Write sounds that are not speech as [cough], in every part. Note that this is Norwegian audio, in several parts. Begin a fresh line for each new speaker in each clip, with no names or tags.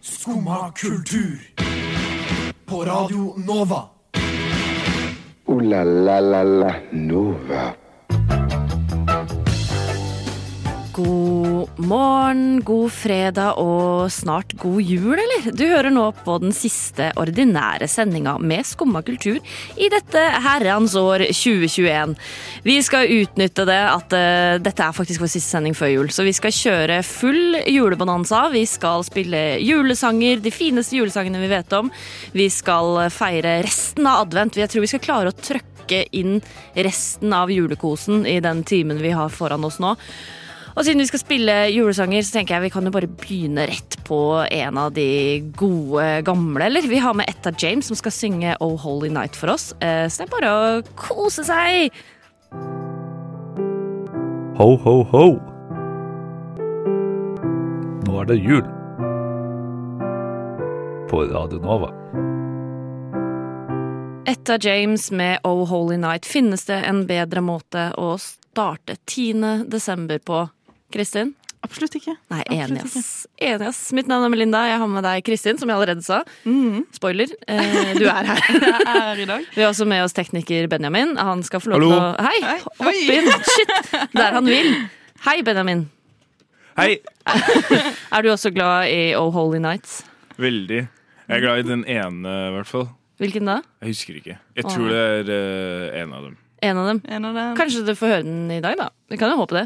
Skumma kultur. På Radio Nova.
Ooh la la la la Nova.
God morgen, god fredag og snart god jul, eller? Du hører nå på den siste ordinære sendinga med Skumma kultur i dette herrens år 2021. Vi skal utnytte det at eh, dette er faktisk vår siste sending før jul, så vi skal kjøre full julebonanza. Vi skal spille julesanger, de fineste julesangene vi vet om. Vi skal feire resten av advent. Jeg tror vi skal klare å trøkke inn resten av julekosen i den timen vi har foran oss nå. Og siden vi skal spille julesanger, så tenker jeg vi kan jo bare begynne rett på en av de gode gamle, eller? Vi har med Etta James som skal synge Oh Holy Night for oss, eh, så det er bare å kose seg!
Ho, ho, ho! Nå er det jul. På Radio Nova.
Etta James med Oh Holy Night. Finnes det en bedre måte å starte 10. desember på, Kristin?
Absolutt ikke.
Nei,
Absolutt
enig, ass. enig, ass. Mitt navn er Melinda. Jeg har med deg Kristin, som jeg allerede sa. Spoiler, eh, du er her.
Jeg er her i dag.
Vi har også med oss tekniker Benjamin. Han skal få lov til å
Hallo.
Hei!
Hei.
Hopp
Oi.
inn! Shit! Der han vil. Hei, Benjamin.
Hei!
Er du også glad i Oh Holy Nights?
Veldig. Jeg er glad i den ene, i hvert fall.
Hvilken da?
Jeg husker ikke. Jeg
Åh.
tror det er eh, en av dem.
En av dem.
[laughs] En av dem.
Kanskje du får høre den i dag, da. Vi kan jo håpe det.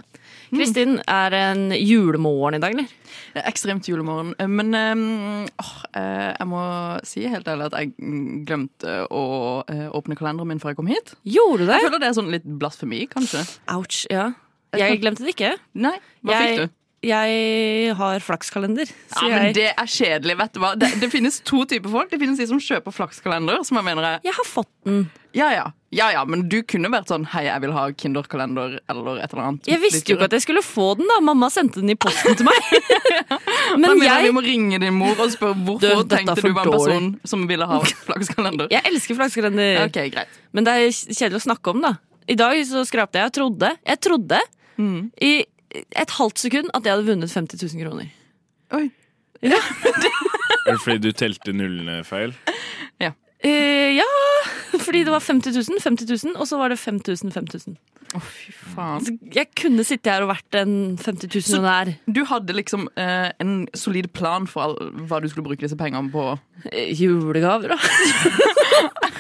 Mm.
Kristin, er det en julemorgen i dag, eller?
Det er Ekstremt julemorgen. eh, Men ehm, åh, eh, jeg må si helt ærlig at jeg mm, glemte å eh, åpne kalenderen min før jeg kom hit.
Gjorde du
Jeg
det?
føler det er sånn litt blasfemi, kanskje.
Ouch. Ja. Jeg glemte det ikke.
Nei, hva
jeg,
fikk du?
jeg har flakskalender. Så
Ja, men
jeg,
Det er kjedelig. vet du hva det, det finnes to typer folk. Det finnes de som kjøper flakskalender, som jeg mener er
jeg har fått den.
ja ja. ja ja, men du kunne vært sånn hei, jeg vil ha Kinderkalender eller et eller annet.
Jeg visste jo ikke at jeg skulle få den, da. Mamma sendte den i posten
[laughs]
til meg.
Men
Men
jeg...
jeg
Vi må ringe din mor og spørre hvorfor
Du, dette er
tenkte
for
du var en
dårlig.
person som ville ha flakskalender.
Jeg elsker flakskalender.
Ok, greit.
Men det er kjedelig å snakke om, da. I dag så skrapte jeg. Jeg trodde, jeg trodde i et halvt sekund at jeg hadde vunnet 50 000 kroner.
Oi.
Er det fordi du telte nullene feil?
Eh, ja, [laughs] fordi det var 50 000, 50 000, og så var det 5000, 5000.
Å, fy faen.
Så Altså, Jeg kunne sitte her og vært en 50 000 og der.
Du hadde liksom eh, en solid plan for all, hva du skulle bruke disse pengene på. [laughs]
Eh, Julegaver, da.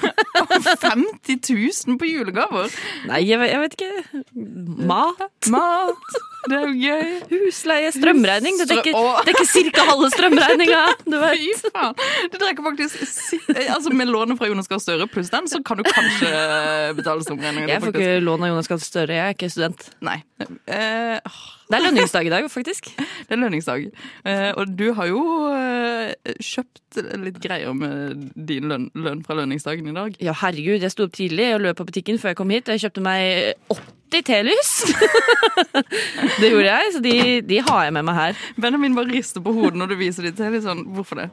50 000 på julegaver!
Nei, jeg, vet- jeg vet ikke. Mat,
Mat! Det er jo gøy.
husleie, strømregning. Det
Strø-
dekker,
Å.
dekker cirka halve strømregninga. [laughs] Du vet.
Fy faen. Du trekker faktisk si, eh, Altså Med lånet fra Jonas Gahr Støre pluss den, så kan du kanskje eh, betale strømregningen.
Jeg får
faktisk.
ikke lån av Jonas Gahr Støre, jeg er ikke student.
Nei. Eh, åh,
Det er lønningsdag i dag, faktisk.
det er lønningsdag. Eh, og du har jo eh, kjøpt litt greier med din lønn, lønn fra lønningsdagen i dag.
Ja, herregud, jeg sto opp tidlig og løp på butikken før jeg kom hit. Og jeg kjøpte meg 80 telys. [laughs] det gjorde jeg, så de, de har jeg med meg her.
Benjamin bare rister på hodet når du viser dem til. Litt sånn, hvorfor det?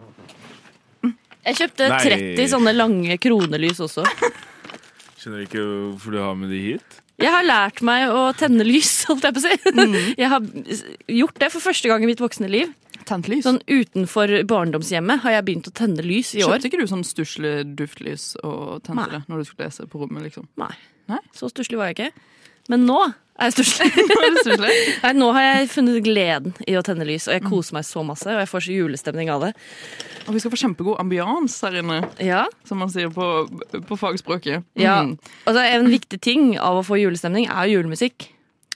Jeg kjøpte
Nei.
30 sånne lange kronelys også.
Skjønner ikke hvorfor du har med de hit.
Jeg har lært meg å tenne lys, [laughs] holdt jeg på å si. Jeg har gjort det for første gang i mitt voksne liv.
Tent lys.
Sånn utenfor barndomshjemmet har jeg begynt å tenne lys i år.
Kjøpte ikke du sånn stusslig duftlys og tente
Nei.
det når du skulle lese på rommet, liksom? [laughs]
Nei.
Nei?
Så stusslig var jeg ikke. Men nå er jeg [laughs] stusslig.
Var det stusslig?
Nei, nå har jeg funnet gleden i å tenne lys, og jeg koser meg så masse. Og jeg får så julestemning av det.
Og vi skal få kjempegod ambians her inne,
Ja,
som man sier på, på fagspråket.
Ja,
Mm.
altså En viktig ting av å få julestemning er jo julemusikk.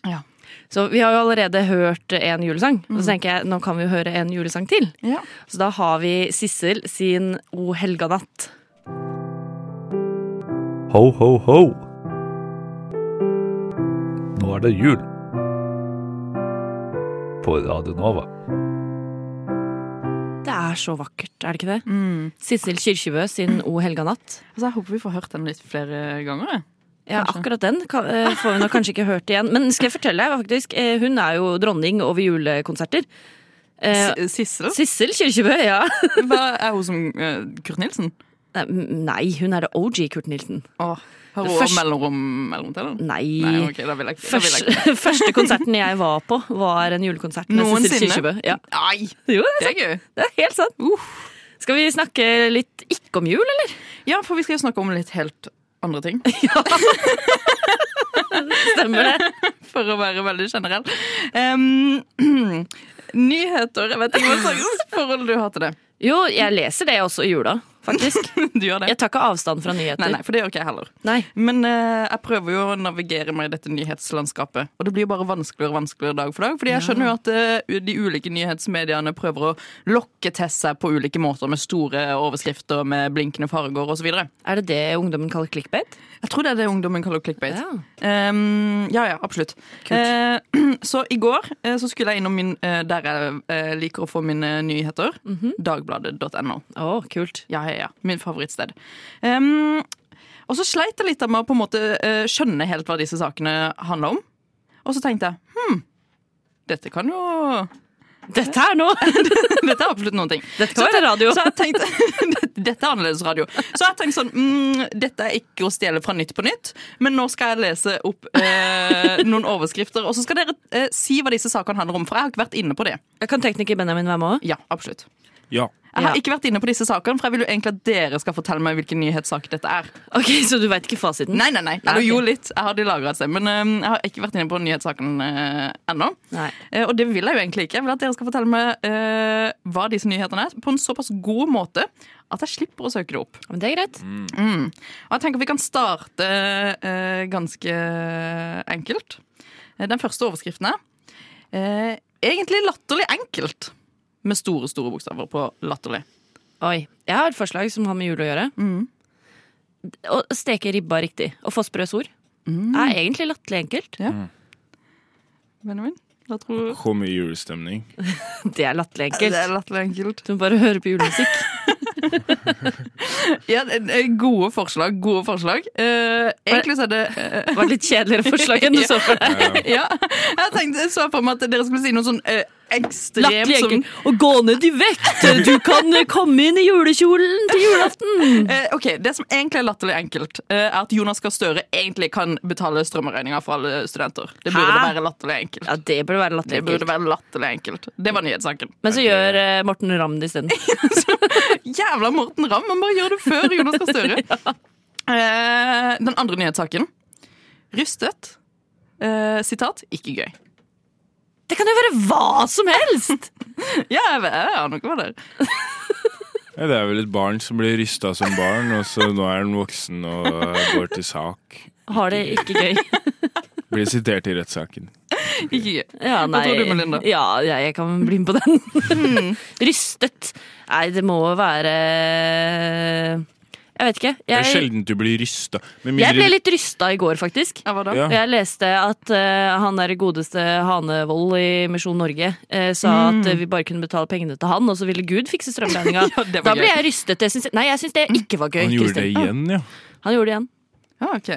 Ja. Mm.
Så Vi har jo allerede hørt en julesang, og så tenker jeg nå kan vi jo høre en julesang til.
ja.
Så da har vi Sissel sin O helga natt.
Ho, ho, ho! Nå er det jul. På Radio Nova.
Det er så vakkert, er det ikke det?
Mm.
Sissel Kyrkjebø sin O helga natt.
Altså, jeg håper vi får hørt den litt flere ganger. jeg.
Ja,
Kanskje.
akkurat den kan, eh, får vi nå kanskje ikke hørt igjen. Men skal jeg fortelle deg, faktisk, eh, hun er jo dronning over julekonserter. Eh,
S- Sissel?
Sissel Kyrkjebø, ja. [laughs]
Hva er hun som eh, Kurt Nilsen?
Nei, hun er det OG Kurt Nilsen.
Åh, Har hun
Først-
også mellomrom mellom til den?
Nei.
Nei, ok, da vil jeg ikke. Da vil jeg
Første,
ikke.
første konserten jeg var på, var en julekonsert med Cecilie Kyrkjebø.
Noensinne?
Ja.
Nei,
Jo, det er
det er Uh. gøy.
sant. Det er helt sant. Skal vi snakke litt ikke om jul, eller?
Ja, for vi skal jo snakke om litt helt andre ting,
Stemmer det?
for å være veldig generell. Em, [clears throat] nyheter Jeg vet ikke hva slags forhold du har til det. [laughs]
Jo, jeg leser det også i jula, faktisk.
Du gjør det?
Jeg tar ikke avstand fra nyheter.
Nei, nei, for det gjør ikke jeg heller.
Nei.
Men eh, jeg prøver jo å navigere meg i dette nyhetslandskapet. Og det blir bare vanskeligere og vanskeligere dag for dag. Fordi jeg skjønner jo at eh, de ulike nyhetsmediene prøver å lokke til seg på ulike måter med store overskrifter med blinkende farger osv.
Er det det ungdommen kaller clickbait?
Jeg tror det er det ungdommen kaller clickbait.
Ja.
Ehm, ja, ja, absolutt.
Kult.
Eh, [clears throat] så i går eh, så skulle jeg innom min, eh, der jeg eh, liker å få mine nyheter. Dagbladet.no.
Mhm. Å, kult.
Ja, ja, ja. Min favorittsted. Ehm, og så sleit jeg litt med å på en måte eh, skjønne helt hva disse sakene handla om. Og så tenkte jeg hm, dette kan jo [laughs]
Dette er nå!
Dette er absolutt noen ting.
Dette kan være radio.
[laughs] Så jeg tenkte, Dette- dette er annerledes radio. Så jeg tenkte sånn mm, Dette er ikke å stjele fra Nytt på Nytt, men nå skal jeg lese opp eh, noen overskrifter. Og så skal dere eh, si hva disse sakene handler om, for jeg har ikke vært inne på det.
Jeg kan tekniker Benjamin være med òg?
Ja, absolutt.
Ja.
Jeg har
Ja.
ikke vært inne på disse sakene, for jeg vil jo egentlig at dere skal fortelle meg hvilken nyhetssak dette er.
Ok, så du veit ikke fasiten?
Nei, nei, nei.
Nei,
Eller jo,
ok.
litt. Jeg har de lagra et sted. Men eh, jeg har ikke vært inne på nyhetssaken eh, ennå.
Nei.
Eh, og det vil jeg jo egentlig ikke. Jeg vil at dere skal fortelle meg eh, hva disse nyhetene er, på en såpass god måte at jeg slipper å søke det opp.
Men det er greit.
Og jeg tenker vi kan starte eh, ganske enkelt. Eh, Den første overskriften er eh, egentlig latterlig enkelt. Med store, store bokstaver på latterlig.
Oi. Jeg har et forslag som har med jul å gjøre. Å steke ribba riktig og få sprø sor. Er egentlig latterlig enkelt.
Benjamin? Hva tror du?
Hvor mye julestemning?
Det er latterlig
Det
enkelt.
er latterlig enkelt.
Du må bare høre på julemusikk.
Ja, det- det er gode forslag. Gode forslag. Eh, egentlig så er det eh,
Det var et litt kjedeligere forslag [laughs] enn du så for deg.
[laughs] Ja, jeg tenkte så for meg at dere skulle si noe sånn eh, ekstremt
Latterlig
som
enkelt. Å gå ned i vekt! Du kan eh, komme inn i julekjolen til julaften!
Eh, Ok, Det som egentlig er latterlig enkelt, eh, er at Jonas Gahr Støre egentlig kan betale strømregninga for alle studenter. Det burde
Hæ?
være latterlig enkelt.
Ja, det burde være
Det
latterlig
burde
enkelt.
være latterlig enkelt. Det var nyhetssaken.
Men så gjør eh, Morten Ramm det isteden.
Jævla Morten Ramm! Man bare gjør det før Jonas Gahr [laughs] Støre. Eh, Den andre nyhetssaken. Rystet. Eh, Sitat ikke gøy.
[laughs] Det kan jo være hva som helst!
Ja, jeg vet- jeg aner ikke hva det er.
Ja, det er vel et barn som blir rysta som barn, og så nå er han voksen og eh, går til sak.
Har det ikke gøy.
Blir sitert i rettssaken.
Ikke gøy.
Ja, nei.
tror du, Melinda? Hmm.
Ja, jeg, jeg kan bli med på den. [laughs] Rystet. Nei, det må være Jeg vet ikke.
Det er
Jeg,
sjelden du blir rysta. Med mindre-
jeg ble litt rysta i går, faktisk.
Ja, hva da?
Ja.
Jeg leste at eh, han der godeste Hanevold i Misjon Norge eh, sa at eh, vi bare kunne betale pengene til han, og så ville Gud fikse strømregninga.
Hmm. [laughs] Ja, det var
da ble
gøy. Hmm.
jeg rystet. Jeg syns- nei, jeg syns det ikke var gøy.
Han gjorde det
Kristin.
igjen, ja.
Ah, Han gjorde det igjen.
Ja, ok.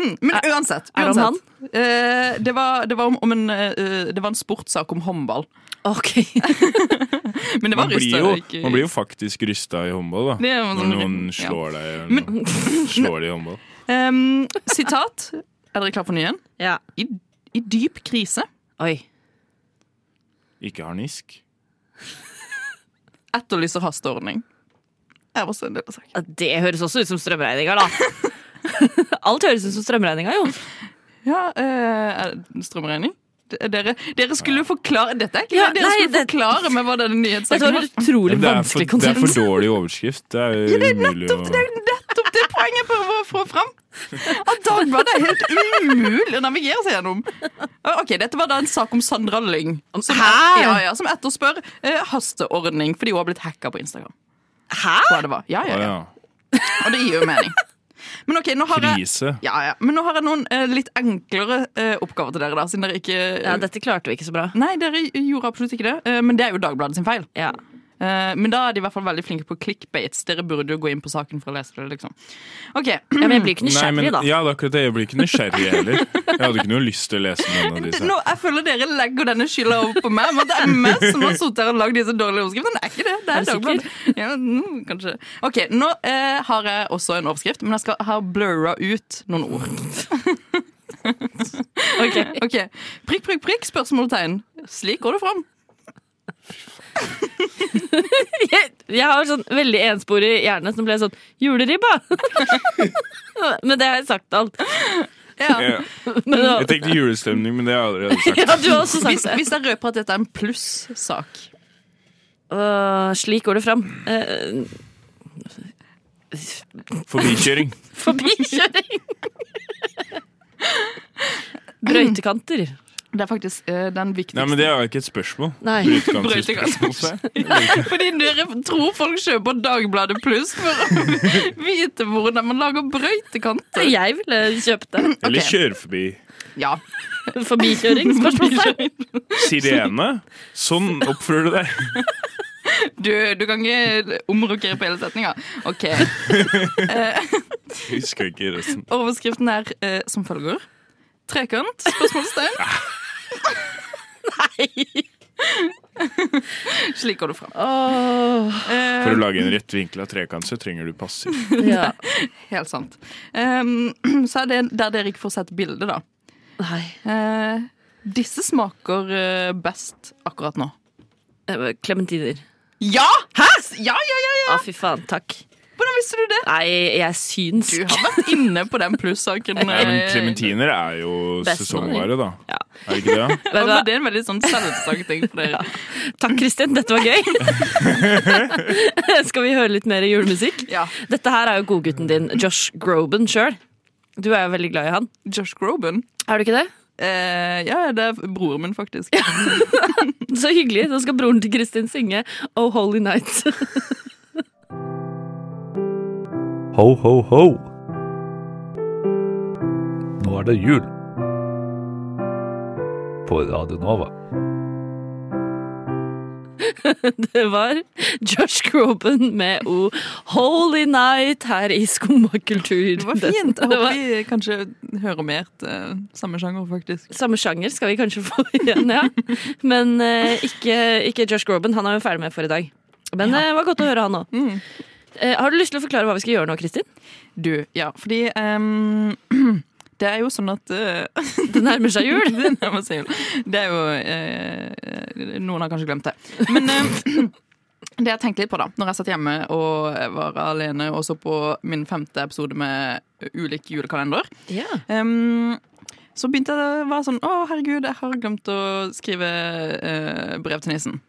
Hmm, Men uansett.
er det om
uansett. Eh, det, var, det, var om, om en, eh, det var en sportssak om håndball. [laughs]
Ok.
Men det var
Man blir,
rystet.
jo,
ikke-
man blir jo faktisk rysta i håndball,
Det
da.
er jo
Når
sånn-
noen
ja.
slår deg eller noe. Slår deg i håndball.
Em, sitat. Er dere klare for nyen?
[laughs] Ja.
I, I dyp krise.
Oi.
Ikke harnisk.
Etterlyser hasteordning. Er også en del av saken.
Ja, Det høres også ut som strømregninga, da.
[laughs]
Alt høres ut som strømregninga, jo.
Ja, eh, er det strømregning? D- Dere, dere skulle jo forklare Dette er ikke
Ja,
det. Dere
nei,
skulle
det-
forklare meg hva denne
Dette
nyhetssaken
var
var.
et Altså, utrolig
Det er, for,
vanskelig
det er
konsept.
for dårlig overskrift. Det er jo umulig å
Det er jo nettopp det poenget jeg prøver å få fram. At Dagbladet er helt umulig å navigere seg gjennom. Eh, Ok, Dette var da en sak om Sandra Lyng, som,
Hæ?
ja, ja, som etterspør eh, hasteordning fordi hun har blitt hacka på Instagram.
Hæ?
Hva det var. Ja,
Å
ja, ja.
ja.
Og det gir jo mening. Men ok, nå har jeg,
Krise.
ja, ja. Men nå har jeg noen eh, litt enklere eh, oppgaver til dere, da, siden dere ikke eh,
Ja, dette klarte vi ikke så bra.
Nei, dere gjorde absolutt ikke det, eh, men det er jo Dagbladet sin feil.
Ja.
Eh, men da er de i hvert fall veldig flinke på clickbaits. Dere burde jo gå inn på saken for å lese det, liksom. Ok,
Ja, men jeg blir ikke
Nei, men,
nysgjerrig, da.
ja, det er akkurat det. Jeg blir ikke nysgjerrig heller. Jeg hadde ikke noe lyst til å lese noen av disse.
Nå, jeg føler dere legger denne skylda over på meg. Men det er meg som har sittet her og lagd disse dårlige overskriftene. Det er ikke det.
Er
Det er,
du
Dagbladet. Ja, mm, kanskje. Ok, nå eh, har jeg også en overskrift, men jeg skal ha blurra ut noen
[laughs]
ord. ok, ok. Prikk, prikk, prikk, spørsmålstegn. Slik går det fram.
Jeg, jeg har sånn veldig ensporig hjerne som ble sånn [laughs] Juleribba! men det har jeg sagt alt.
Ja.
Ja.
Men,
Jeg tenkte julestemning, men det har jeg allerede sagt.
ja, du har også
Hvis,
sagt det.
hvis jeg røper at dette er en pluss-sak.
Øh, slik går det fram. Uh,
Forbikjøring.
[laughs] forbikjøring! Brøytekanter.
Det er faktisk eh, den viktigste.
Nei, men det er jo ikke et spørsmål.
Nei.
[laughs] Brøytekantspørsmål.
[laughs] Fordi dere tror folk kjøper Dagbladet Pluss for å [laughs] vite hvordan man lager brøytekanter.
Jeg ville kjøpt det.
Eller
Ok.
kjøre forbi.
Ja.
Forbikjøring? Spørsmålstegn.
Sirene. Sånn oppfører du deg.
Du, du kan ikke omrokere på hele setninga. Ok,
Jeg husker ikke resten.
Overskriften er eh, som følger. Trekant? Spørsmålstegn.
Nei!
Slik går det fram.
Åh,
For å lage en rettvinkla trekant, så trenger du passiv.
ja.
Helt sant. Um, så er det der dere ikke får sett bildet, da.
Nei.
Eh, disse smaker eh, best akkurat nå.
Eh, Klementiner.
Ja! Hæ? Ja, ja, ja, ja!
Å, fy faen. Takk.
Hvordan visste du det?
Nei, jeg er synsk.
Du har vært inne på den
[laughs]
plussaken.
Ja, men
eh,
Klementiner er jo
Best
sesongvare, da.
Ja.
Er det ikke det?
Vet
Og
du hva?
Det er en veldig sånn selvsagt ting for dere.
Takk, Kristin. Dette var [laughs] gøy. Skal vi høre litt mer julemusikk?
Ja.
Dette her er jo godgutten din, Josh Groban sjøl. Du er jo veldig glad i han.
Josh Groban.
Er du ikke det?
Eh, ja, det er broren min, faktisk.
Så hyggelig. Nå skal broren til Kristin synge Oh Holy Night. [laughs]
Ho, ho, ho. Nå er det jul. På Radio Nova.
Det var Josh Groban med O Holy Night her i Skumma kultur.
Det var fint. Jeg
Det
håper
var-
vi kanskje hører mer til samme sjanger, faktisk.
Samme sjanger skal vi kanskje få [laughs] igjen, ja. Men eh, ikke, ikke Josh Groban. Han er vi ferdig med for i dag. Men eh, det var godt å høre han òg. har du lyst til å forklare hva vi skal gjøre nå, Kristin?
Du, ja, fordi ehm, [clears throat] det er jo sånn at eh, [laughs]
Det nærmer seg jul.
Det [laughs] nærmer seg jul. Det er jo eh, Noen har kanskje glemt det. Men eh, [clears throat] det jeg tenkte litt på da Når jeg satt hjemme og var alene og så på min femte episode med ulike julekalender,
Ja.
Ehm, så begynte jeg å være sånn Å, herregud, jeg har glemt å skrive eh, brev til nissen.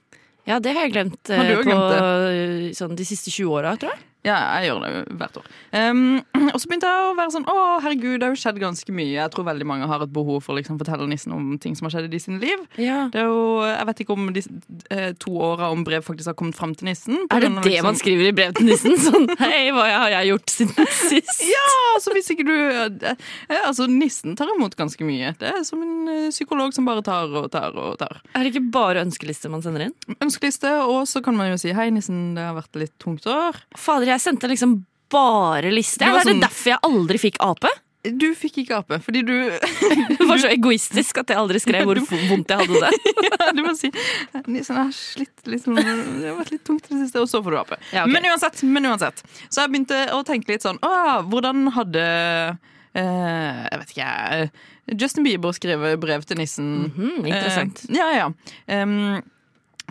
ja, det har jeg glemt, eh,
Har du jo glemt
på eh, sånn, de siste 20 åra, tror jeg.
Ja, jeg gjør det jo hvert år. Ehm, [clears throat] og så begynte jeg å være sånn Å, herregud, det har jo skjedd ganske mye. Jeg tror veldig mange har et behov for å liksom, fortelle nissen om ting som har skjedd i de sine liv. Det er jo, Jeg vet ikke om de eh, to åra om brev faktisk har kommet fram til nissen. på
Er det
grunn av
det
liksom-
man skriver i brev til
[laughs]
nissen? Sånn hei, hva har jeg gjort siden sist?
Ja, altså hvis ikke du eh, eh, Altså, nissen tar imot ganske mye. Det er som en eh, psykolog som bare tar og tar og tar.
Er det ikke bare ønskelister man sender inn?
Ønskeliste, og så kan man jo si Hei, nissen, det har vært et litt tungt år.
Fader, jeg sendte liksom bare liste.
Det
Er
var
det
sånn-
derfor jeg aldri fikk ape?
Du fikk ikke ape, fordi du
Det var så
[laughs]
egoistisk at jeg aldri skrev hvor vondt jeg hadde
Eh.
det.
[laughs] Du må si Nissen jeg har slitt liksom, Det har vært litt tungt i det siste, og så får du ape.
Ja, ok.
Men uansett, men uansett. Så jeg begynte å tenke litt sånn Åh, hvordan hadde eh, Jeg vet ikke, jeg, Justin Bieber skrevet brev til nissen?
Mhm, interessant.
Eh, ja, ja. Em,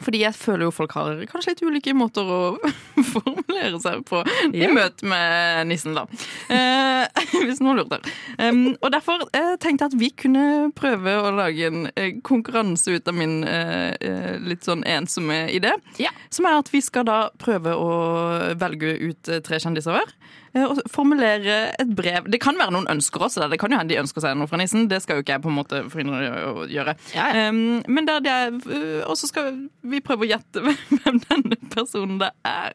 fordi jeg føler jo folk har kanskje litt ulike måter å [laughs] formulere seg på i
Ja.
møte med nissen, da. Eh, [laughs] hvis noen lurte. Em, og derfor eh, tenkte jeg at vi kunne prøve å lage en eh, konkurranse ut av min eh, eh, litt sånn ensomme idé.
Ja.
Som er at vi skal da prøve å velge ut eh, tre kjendiser hver. eh, Og formulere et brev. Det kan være noen ønsker også. da. Det kan jo hende de ønsker seg noe fra nissen. Det skal jo ikke jeg på en måte forhindre dem å gjøre.
Ja, ja.
Um, men der det er Og så skal vi prøve å gjette [laughs] hvem denne personen det er.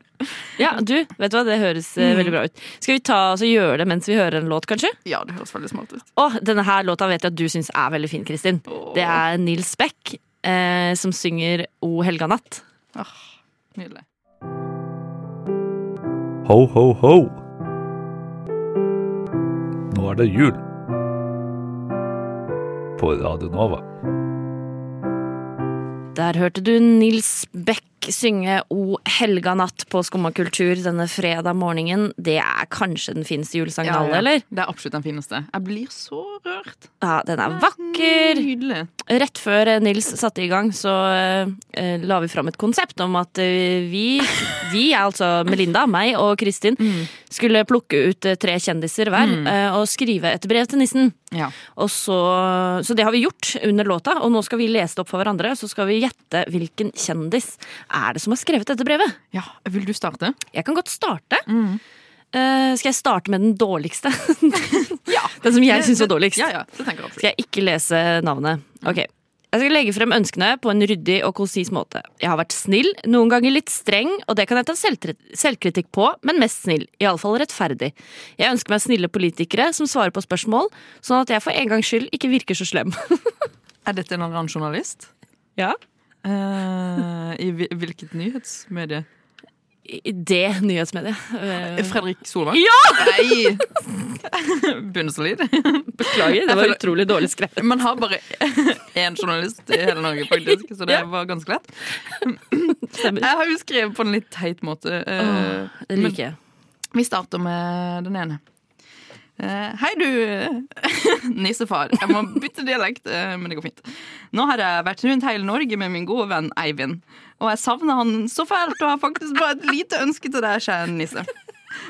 Ja, du, vet du hva, det høres eh,
Mm.
veldig bra ut. Skal vi ta oss og gjøre det mens vi hører en låt, kanskje?
Ja, det høres veldig smart ut.
Å, denne her låta vet jeg at du syns er veldig fin, Kristin. Det er Nils Beck eh, som synger O helga natt.
Ah, nydelig.
Ho, ho, ho. Nå er det jul. På Radio Nova.
Der hørte du Nils Beck synge O helga natt på Skumma kultur denne fredag morgenen. Det er kanskje den fineste julesangen av alle, eller?
Det er absolutt den fineste. Jeg blir så rørt.
Ja, den er vakker!
Nydelig.
Rett før eh, Nils satte i gang, så eh, la vi fram et konsept om at eh, vi, vi er altså Melinda, meg og Kristin, skulle plukke ut eh, tre kjendiser hver eh, og skrive et brev til nissen.
Ja.
Og så, så det har vi gjort under låta, og nå skal vi lese det opp for hverandre. Så skal vi gjette hvilken kjendis er det som har skrevet dette brevet.
ja. Vil du starte?
Jeg kan godt starte.
Mm.
Eh, skal jeg starte med den dårligste? [laughs] Den som jeg syns var dårligst.
Ja, ja, det tenker jeg absolutt.
Skal jeg ikke lese navnet? Ok. Jeg skal legge frem ønskene på en ryddig og konsis måte. Jeg har vært snill, noen ganger litt streng, og det kan jeg ta selvtre- selvkritikk på, men mest snill. Iallfall rettferdig. Jeg ønsker meg snille politikere som svarer på spørsmål, sånn at jeg for en gangs skyld ikke virker så slem. [laughs]
Er dette en eller annen journalist?
Ja.
Eh, I hvil- hvilket nyhetsmedie?
I det nyhetsmediet. Eh,
Fredrik Solvang?
Ja!
Nei! [laughs] Bunnsolid.
Beklager, det var utrolig dårlig skrevet.
Man har bare én journalist i hele Norge, faktisk, så det
Ja.
var ganske lett.
Stemmer.
Jeg har jo skrevet på en litt teit måte. eh,
Det liker jeg.
Vi starter med den ene. Eh, hei, du [laughs] nissefar. Jeg må bytte dialekt, eh, men det går fint. Nå har jeg vært rundt hele Norge med min gode venn Eivind. Og jeg savner han så fælt og har faktisk bare et lite ønske til deg, kjære nisse.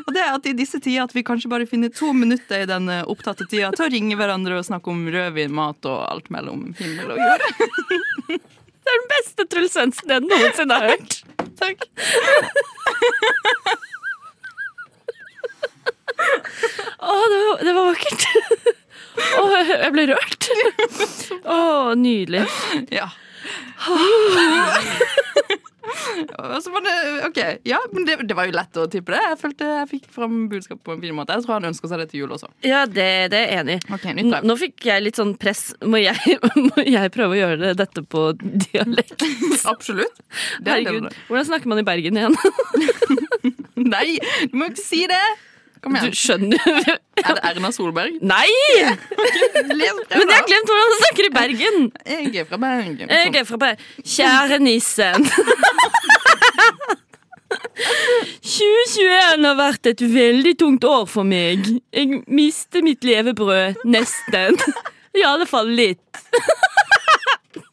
Og det er at i disse tider at vi kanskje bare finner to minutter i den opptatte tida til å ringe hverandre og snakke om rødvin, mat og alt mellom himmel og jord.
Det er den beste Truls Svendsen jeg noensinne har hørt. Takk. Å, det var, det var vakkert. Å, jeg jeg ble rørt. Å, nydelig.
Ja. [laughs] Og så var det, ok, ja, men det, det var jo lett å tippe det. Jeg følte jeg fikk fram budskapet på en fin måte. Jeg tror han ønsker seg det til jul også.
Ja, det, det er jeg enig i.
Ok, nytt
N-
brev.
Nå fikk jeg litt sånn press. Må jeg, [laughs] må jeg prøve å gjøre det- dette på dialekt?
Absolutt. Det er det
Herregud,
det er.
hvordan snakker man i Bergen igjen?
Nei, du må jo ikke si det! Kom
Du
igjen.
skjønner jo
Er det Erna Solberg? [laughs]
Nei! Men jeg har glemt hvordan man snakker i Bergen!
Jeg er fra Bergen.
Jeg er fra Bergen. Kjære nissen. [laughs] 2021 har vært et veldig tungt år for meg. Jeg mister mitt levebrød. Nesten. I alle fall litt.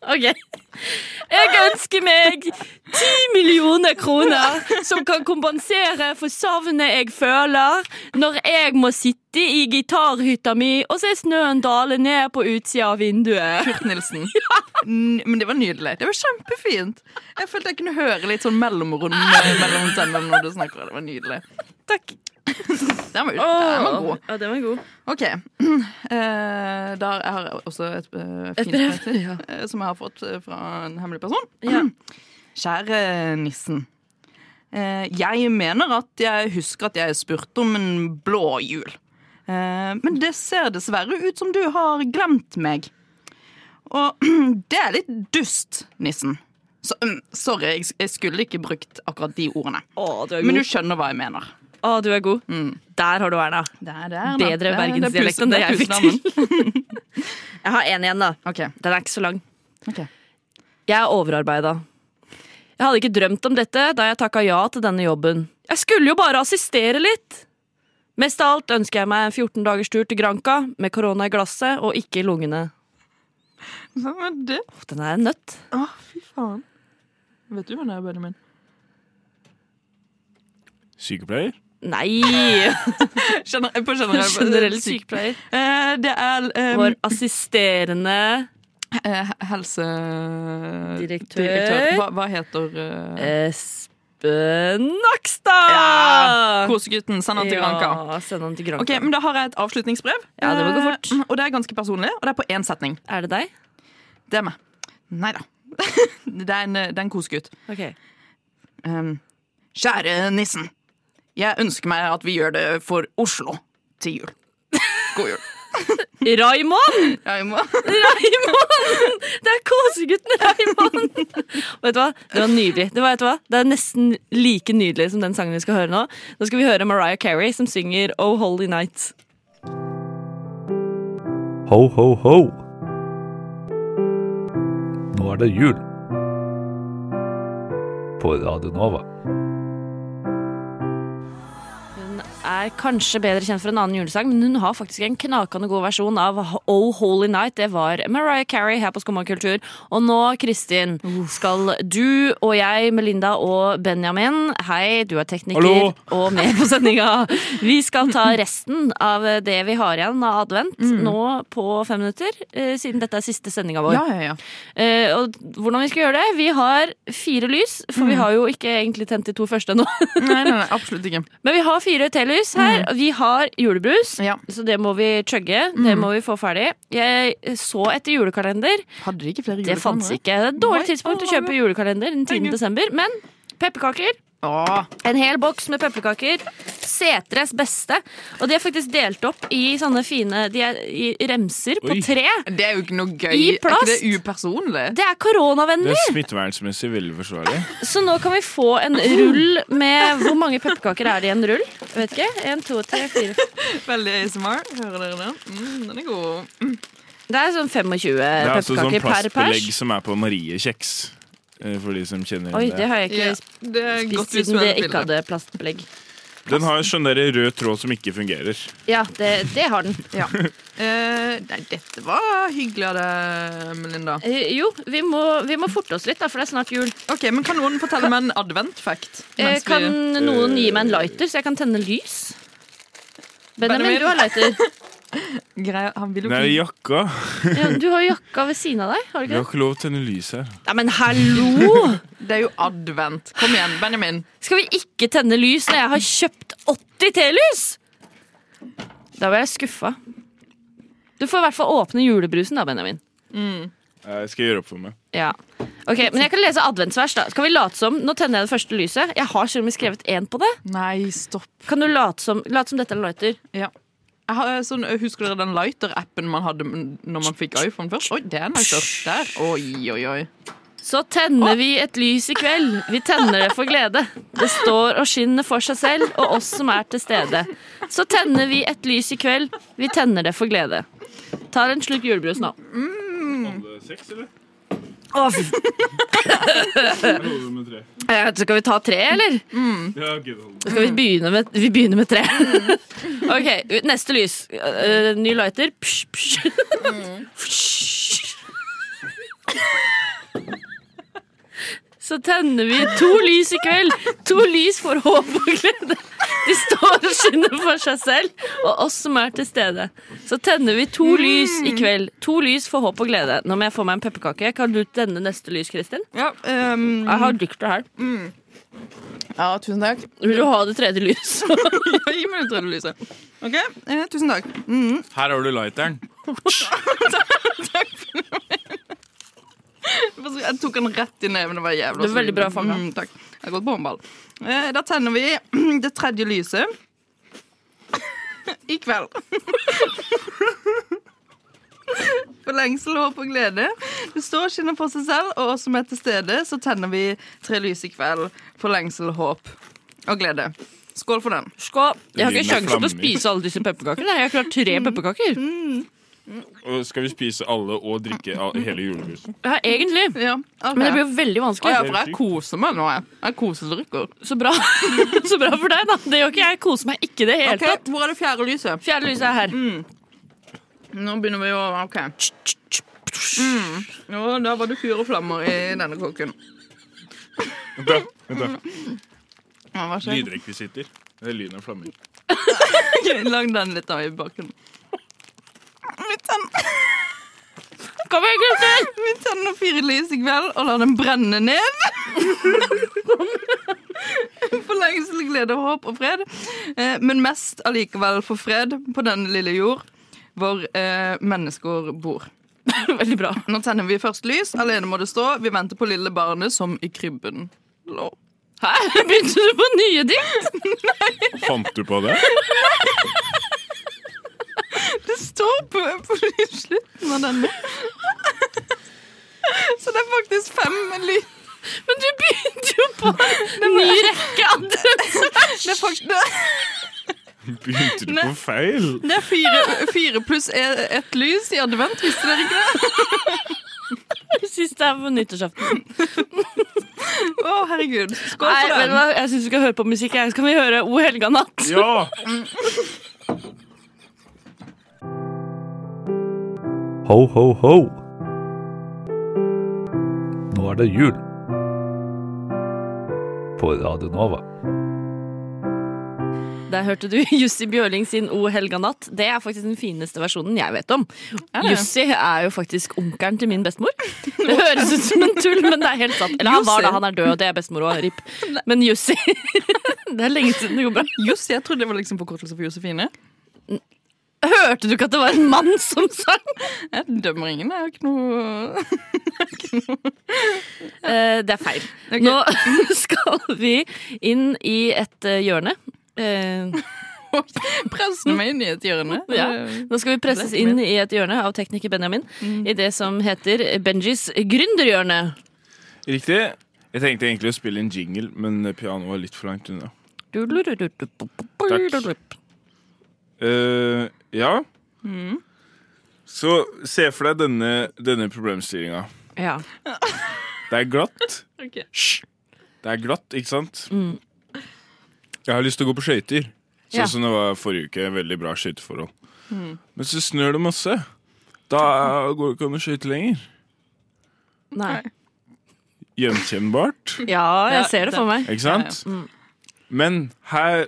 OK. Jeg ønsker meg ti millioner kroner som kan kompensere for savnet jeg føler når jeg må sitte i gitarhytta mi og se snøen dale ned på utsida av vinduet.
Kurt [laughs] Nilsen. N- Men det var nydelig. Det var kjempefint. Jeg følte jeg kunne høre litt sånn mellomrom mellom tennene når du snakker. Det var nydelig.
Takk.
Den var, den var god.
Ja, den var god.
OK. [clears throat] Eh, der jeg har også et eh, fint brev til, eh, som jeg har fått eh, fra en hemmelig person. [clears throat]
Ja.
Kjære nissen. Eh, jeg mener at jeg husker at jeg spurte om en blå jul. Eh, men det ser dessverre ut som du har glemt meg. Og [clears throat] det er litt dust, nissen. Så, mm, sorry, jeg, jeg skulle ikke brukt akkurat de ordene.
Å, du er god. Mm.
Men du skjønner hva jeg mener.
Å, du er god. Der har du Erna.
Det er, det er,
Bedre bergensdialekt enn det jeg fikk til. [laughs] Jeg har én igjen, da.
Ok,
Den er ikke så lang.
ok.
Jeg er overarbeida. Jeg hadde ikke drømt om dette da jeg takka ja til denne jobben. Jeg skulle jo bare assistere litt! Mest av alt ønsker jeg meg en 14 dagers tur til Granca med korona i glasset og ikke i lungene.
Hvem er det?
Å, Den er en nøtt.
Å, fy faen. Vet du hva det er, Benjamin?
Sykepleier?
Nei! [laughs]
på
Generell sykepleier.
Eh, det er eh,
Vår assisterende
eh, helse...
Direktør.
Hva, hva heter eh,
Espen
ja,
Nakstad!
Kosegutten. Send han til Granka.
Ja, send han til Granca.
Ok, men Da har jeg et avslutningsbrev.
Ja, det må gå fort.
Eh, og det er ganske personlig, og det er på én setning.
Er det deg?
Det er meg. Nei da. [laughs] det er en, eh, det er en kosegutt.
Ok. [laughs]
Ehm, kjære nissen. Jeg ønsker meg at vi gjør det for Oslo til jul. God jul.
Raymond!
[laughs] Ja, jeg må.
Raymond! Det er kosegutten Raymond! [laughs] Vet du hva? Det var nydelig. Det, var, vet du hva? det er nesten like nydelig som den sangen vi skal høre nå. Nå skal vi høre Mariah Carey som synger Oh Holy Night.
Ho, ho, ho. Nå er det jul. På Radio Nova.
Hun er kanskje bedre kjent for en annen julesang, men hun har faktisk en knakende god versjon av Oh Holy Night. Det var Mariah Carey her på Skumma kultur. Og nå, Kristin, skal du og jeg, Melinda og Benjamin Hei, du er tekniker
Hallo.
og med på sendinga. Vi skal ta resten av det vi har igjen av advent nå på fem minutter, eh, siden dette er siste sendinga vår.
Ja, ja, ja.
Eh, og hvordan vi skal gjøre det? Vi har fire lys, for vi har jo ikke egentlig tent de to første ennå.
Nei, nei, nei, absolutt ikke.
Men vi har fire telys her. og Vi har julebrus,
Mm. Ja. Mm.
så det må vi chugge. Det må vi få ferdig. Jeg så etter julekalender.
Hadde de ikke flere
Det fantes ikke. Det er et
Nei.
dårlig tidspunkt å
Å,
kjøpe julekalender den 10.
Herregud.
desember. Men pepperkaker.
Åh,
En hel boks med pepperkaker. Setres beste. Og de er faktisk delt opp i sånne fine De er i remser på
Oi.
tre.
det er jo ikke noe gøy.
I plast.
Er ikke det upersonlig?
Det er
Det
koronavennlig!
er smittevernmessig veldig forsvarlig.
Så nå kan vi få en rull med Hvor mange pepperkaker er det i en rull? Jeg Vet ikke. En, to, tre, fire
Veldig ASMR. Hører dere den? Mm, den er god.
Det er sånn 25
Det er altså sånn
pepperkaker per pers.
plastbelegg som er på Mariekjeks. eh, For de som kjenner
Oi,
igjen
det
det.
har jeg ikke
Ja, det er et
spist
godt
siden det
visuelt
ikke
bilde.
hadde plastbelegg.
Den har en sånn der rød tråd som ikke fungerer.
Ja, det, det har den.
Ja. Eh, nei, dette var hyggelig av deg, Melinda.
Eh, Jo, vi må, vi må forte oss litt, da, for det er snart jul.
Ok, men Kan noen fortelle meg en advent-fact?
Eh,
mens vi-
Kan noen gi meg en lighter, så jeg kan tenne lys? Benjamin,
Benjamin.
du har lighter.
Greia- Han vil jo
Nei, det er
ikke
jakka.
Ja, du har jakka ved siden av deg. har du
Vi har
ikke det?
ikke lov til å tenne lys her.
Nei, men hallo!
Det er jo advent. Kom igjen, Benjamin.
Skal vi ikke tenne lys når jeg har kjøpt 80 telys?! Da var jeg skuffa. Du får i hvert fall åpne julebrusen, da, Benjamin.
Jeg skal gjøre opp for meg.
Ja. Ok, Men jeg kan lese adventsvers. da Skal vi late som? Nå tenner jeg det første lyset. Jeg har selv om jeg skrevet én på det.
Nei, stopp.
Kan du late som, late som dette er en lighter?
Ja. Jeg har, sånn, husker dere den lighter-appen man hadde når man fikk iPhone først? Oi, det er en lighter. Der. Oi, oi, oi.
Så tenner vi et lys i kveld. Vi tenner det for glede. Det står og skinner for seg selv og oss som er til stede. Så tenner vi et lys i kveld. Vi tenner det for glede. Tar en slurk julebrus nå. Mm. Å, fy f- Eh, Skal vi ta tre, eller? Mm. Skal vi begynne med, vi begynner med tre? [laughs] ok, neste lys. Eh, ny lighter. Psh, psh. [laughs] Psh. Så tenner vi to lys i kveld. To lys for håp og glede. De står og skinner for seg selv og oss som er til stede. Så tenner vi to lys i kveld. To lys for håp og glede. Nå må jeg få meg en pepperkake. Kan du tenne neste lys, Kristin?
Ja, ehm,
Jeg har dykter her.
ja tusen [laughs] takk.
Vil du ha det tredje lyset?
Gi meg det tredje lyset. OK, eh, tusen takk. Mm.
Her har du lighteren.
Jeg tok den rett i neven. Det var jævla
Det var veldig bra
solid.
fanget.
Mm, takk. Jeg har gått på håndball. Eh, da tenner vi [clears throat] det tredje lyset. [clears throat] I kveld. [laughs] For lengsel, håp og glede. Det står og skinner på seg selv, og oss som er til stede, så tenner vi tre lys i kveld. For lengsel, håp og glede. Skål for den.
Skål. Jeg har
Det
ikke
ligner
sjanse til å
flammer.
spise alle disse pepperkakene. Jeg har klart tre pepperkaker.
Og skal vi spise alle og drikke all- hele julebrusen?
Ja, egentlig.
Ja, ok.
Men det blir jo veldig
Å ja,
vanskelig.
for jeg koser meg nå. Jeg, jeg koser drikker.
Så bra, [laughs] så bra for deg, da. Det gjør ikke jeg. Jeg Koser meg ikke i det hele
Ok,
tatt.
Hvor er det fjerde lyset?
Fjerde lyset er her.
Nå begynner vi å OK. Ja, Mm. da var det fire flammer i denne kåken.
Vent da, vent da.
Ja, Hva skjer?
Lydrekvisitter. Det er lyden av flammer.
[laughs] Ok, Lag den litt av i bakgrunnen. Vi tenner,
Kom igjen,
[laughs]
Kristin!
vi tenner fire lys i kveld og lar den brenne ned. [laughs] For lengsel, glede, håp og fred. Eh, Men mest allikevel for fred på denne lille jord hvor eh, mennesker bor.
[laughs] Veldig bra.
Nå tenner vi først lys. Alene må det stå. Vi venter på lille barnet som i krybben lå.
Hæ? Begynte du på nye dikt? [laughs]
Fant du på det?
Det står opp på slutten av denne. Så det er faktisk fem lyd...
Men du begynte jo [laughs] på en ny rekke adresser!
Det er, fakt- det er-
Begynte du
Nei.
på feil?
[laughs]
det er fire, fire pluss e- ett lys i advent, visste dere ikke det?
Jeg synes det er på nyttårsaften.
Å, herregud. Skål
Nei,
for
vet du
den.
hva? Jeg syns vi skal høre på musikk. her. Skal vi høre O helga natt?
Ja!
Ho, ho, ho. Nå er det jul. På Radio Nova.
Der hørte du [laughs] Jussi Bjørling sin O helga natt. Det er faktisk den fineste versjonen jeg vet om.
Er det?
Jussi er jo faktisk onkelen til min bestemor. Det høres ut som en tull, men det er helt sant. Eller han var
Jussi?
da, han er død, og det er bestemor òg. [laughs] Rip. Men Jussi Det er lenge siden det går bra.
Joss, jeg trodde det var liksom forkortelse for Josefine.
Hørte du ikke at det var en mann som sang?
Jeg dømmer ingen. Jeg har ikke noe
Eh, det er feil. Nå [laughs] skal vi inn i et eh, hjørne. Eh,
Presse meg inn i et hjørne.
[laughs] ja. Nå skal vi presses inn i et hjørne av tekniker Benjamin. I det som heter Benjis gründerhjørne.
Riktig. Jeg tenkte egentlig å spille en jingle, men pianoet var litt for langt unna. Eh, ja. Så se for deg denne, denne problemstillinga.
Ja.
Det er glatt.
Ok.
Hysj. Det er glatt, ikke sant? Jeg har lyst til å gå på skøyter. Sånn
Ja.
som det var forrige uke. Veldig bra skøyteforhold. Men så snør det masse. Da går det ikke an å skøyte lenger.
Nei.
Gjenkjennbart.
Ja, jeg ser det for meg.
Ikke sant? Men her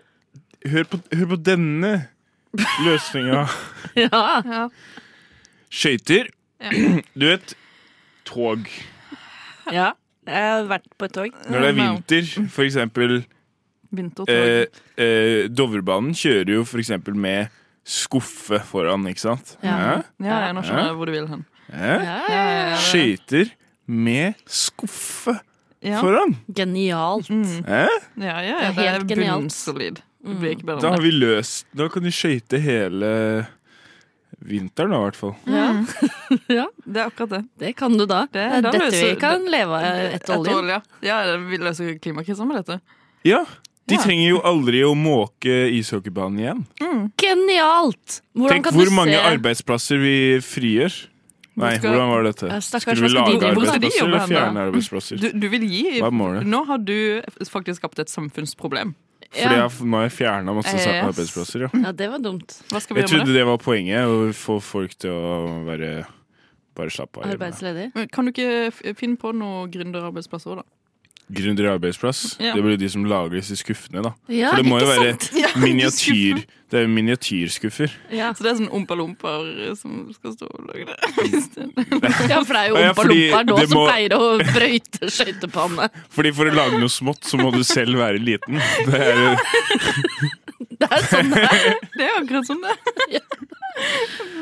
Hør på, hør på denne løsninga.
Ja.
Skøyter. Du vet tog.
ja. Jeg har vært på et tog.
Når det er vinter, for eksempel eh, eh, Dovrebanen kjører jo for eksempel med skuffe foran, ikke sant?
Ja.
Ja, jeg nå skjønner jeg hvor du vil hen.
Eh?
Ja,
Ja,
ja,
ja, ja.
Skøyter med skuffe
Ja.
foran.
ja. Genialt.
Eh?
Ja, ja,
Det er
ja, det er
helt genialt.
bunnsolid. Det blir ikke bedre
Mm. Da
enn
har vi løst Da kan de skøyte hele vinteren, da, i hvert fall.
Ja.
det. Det er akkurat det.
Det kan du da. Det
Det- da
er dette vi Eh,
løser-
kan leve av etter oljen.
Eh, olje. Ja, det- vi løser klimakrisen med dette.
Ja, De
Ja.
trenger jo aldri å måke ishockeybanen igjen.
Genialt! Hvordan
Tenk
kan
hvor
du
mange
se-
arbeidsplasser vi frigjør. Nei,
skal-
hvordan var dette?
Ja, stakkars,
Skulle vi
hva skal de-
lage
hvor
skal de
arbeidsplasser
jobbe
eller
hen da?
fjerne arbeidsplasser?
Du, du vil gi
Hva er målet?
Nå har du faktisk skapt et samfunnsproblem.
Fordi
ja.
jeg, nå har jeg fjerna masse sa-
Yes.
arbeidsplasser, ja.
ja, det var dumt.
Hva skal vi
Jeg
gjøre med
trodde
det?
det var poenget, å få folk til å være bare slappe av. hjemme. [laughs]
Arbeidsledig.
Men Kan du ikke f- finne på noen gründerarbeidsplasser òg, da?
Gründer i arbeidsplass.
Ja.
Det blir jo de som lager disse skuffene, da.
Ja,
For det må jo
ikke
være
sant?
miniatyr. Det er jo miniatyrskuffer.
Ja.
Så det er sånn ompa-lomper som skal stå og lage det. Hvis det-
ja, for det er jo
Ja, fordi
ompa-lompa nå
det
som
må-
pleier å brøyte skøytepanne.
Fordi for å lage noe smått, så må du selv være liten. Det er,
Det er sånn det er.
[laughs]
Det er akkurat sånn det er.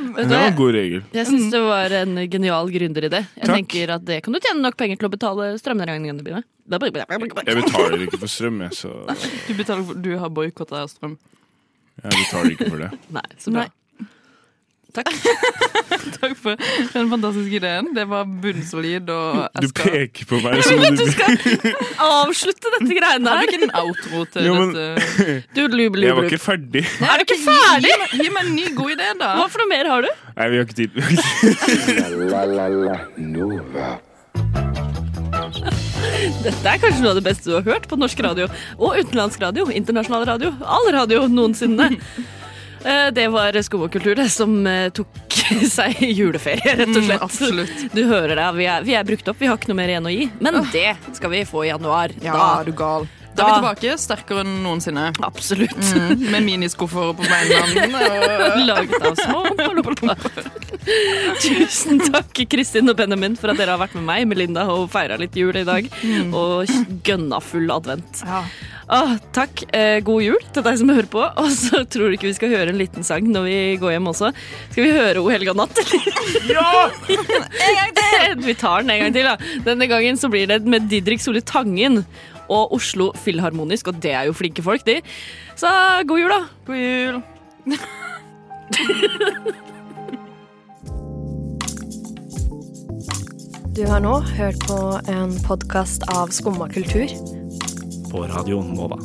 Vet du
det
hva,
er en
jeg-
god regel.
Jeg syns det var en genial gründeridé. Jeg
Takk.
tenker at det kan du tjene nok penger til å betale strømregningene dine. Det er bare-
Jeg betaler ikke for strøm, jeg, så
Du, betaler, for- du har boikotta strøm.
jeg betaler ikke for det.
Nei, så bra. [laughs]
Nei. Takk for den fantastiske ideen. Det var bunnsolid, og
Du
jeg skal
peker på
[laughs]
meg som om du
Avslutte dette greiene
Har
her.
du ikke en outro til
Jo, men-
dette?
Du, lub,
Jeg
lub,
var
lub.
ikke ferdig.
Er du ikke ferdig?
Gi meg, gi meg en ny god idé, da.
Hva for noe mer har du?
Nei, vi har ikke tid. Vi har ikke tid.
La la la Nova.
Dette er kanskje noe av det beste du har hørt på norsk radio. Og utenlandsk radio. Internasjonal radio. All radio noensinne. Eh, Det var Skum og kultur, det, som eh, tok [laughs] seg juleferie, rett og slett.
Mm, absolutt.
Du hører det. Vi er, vi er brukt opp. Vi har ikke noe mer igjen å gi. Men det skal vi få i januar.
Da er
Da.
du gal. Da er vi
Da.
tilbake, sterkere enn noensinne.
[laughs] Absolutt.
Mm, [laughs] med miniskuffer på beina.
Laget av små ompaloppa. Tusen takk, Kristin og Benjamin, for at dere har vært med meg Melinda, og feira litt jul i dag. Og gønna full advent.
Ja.
Åh, takk. Eh, god jul til deg som hører på. Og så tror du ikke vi skal høre en liten sang når vi går hjem også. Skal vi høre O helga natt, eller? [laughs] Vi tar den en gang til, da. Denne gangen så blir det med Didrik Solli Tangen og Oslo Filharmonisk, og det er jo flinke folk, de. Så god jul, da.
God jul.
Du har nå hørt på en podkast av Skumma kultur.
På Radio Nova.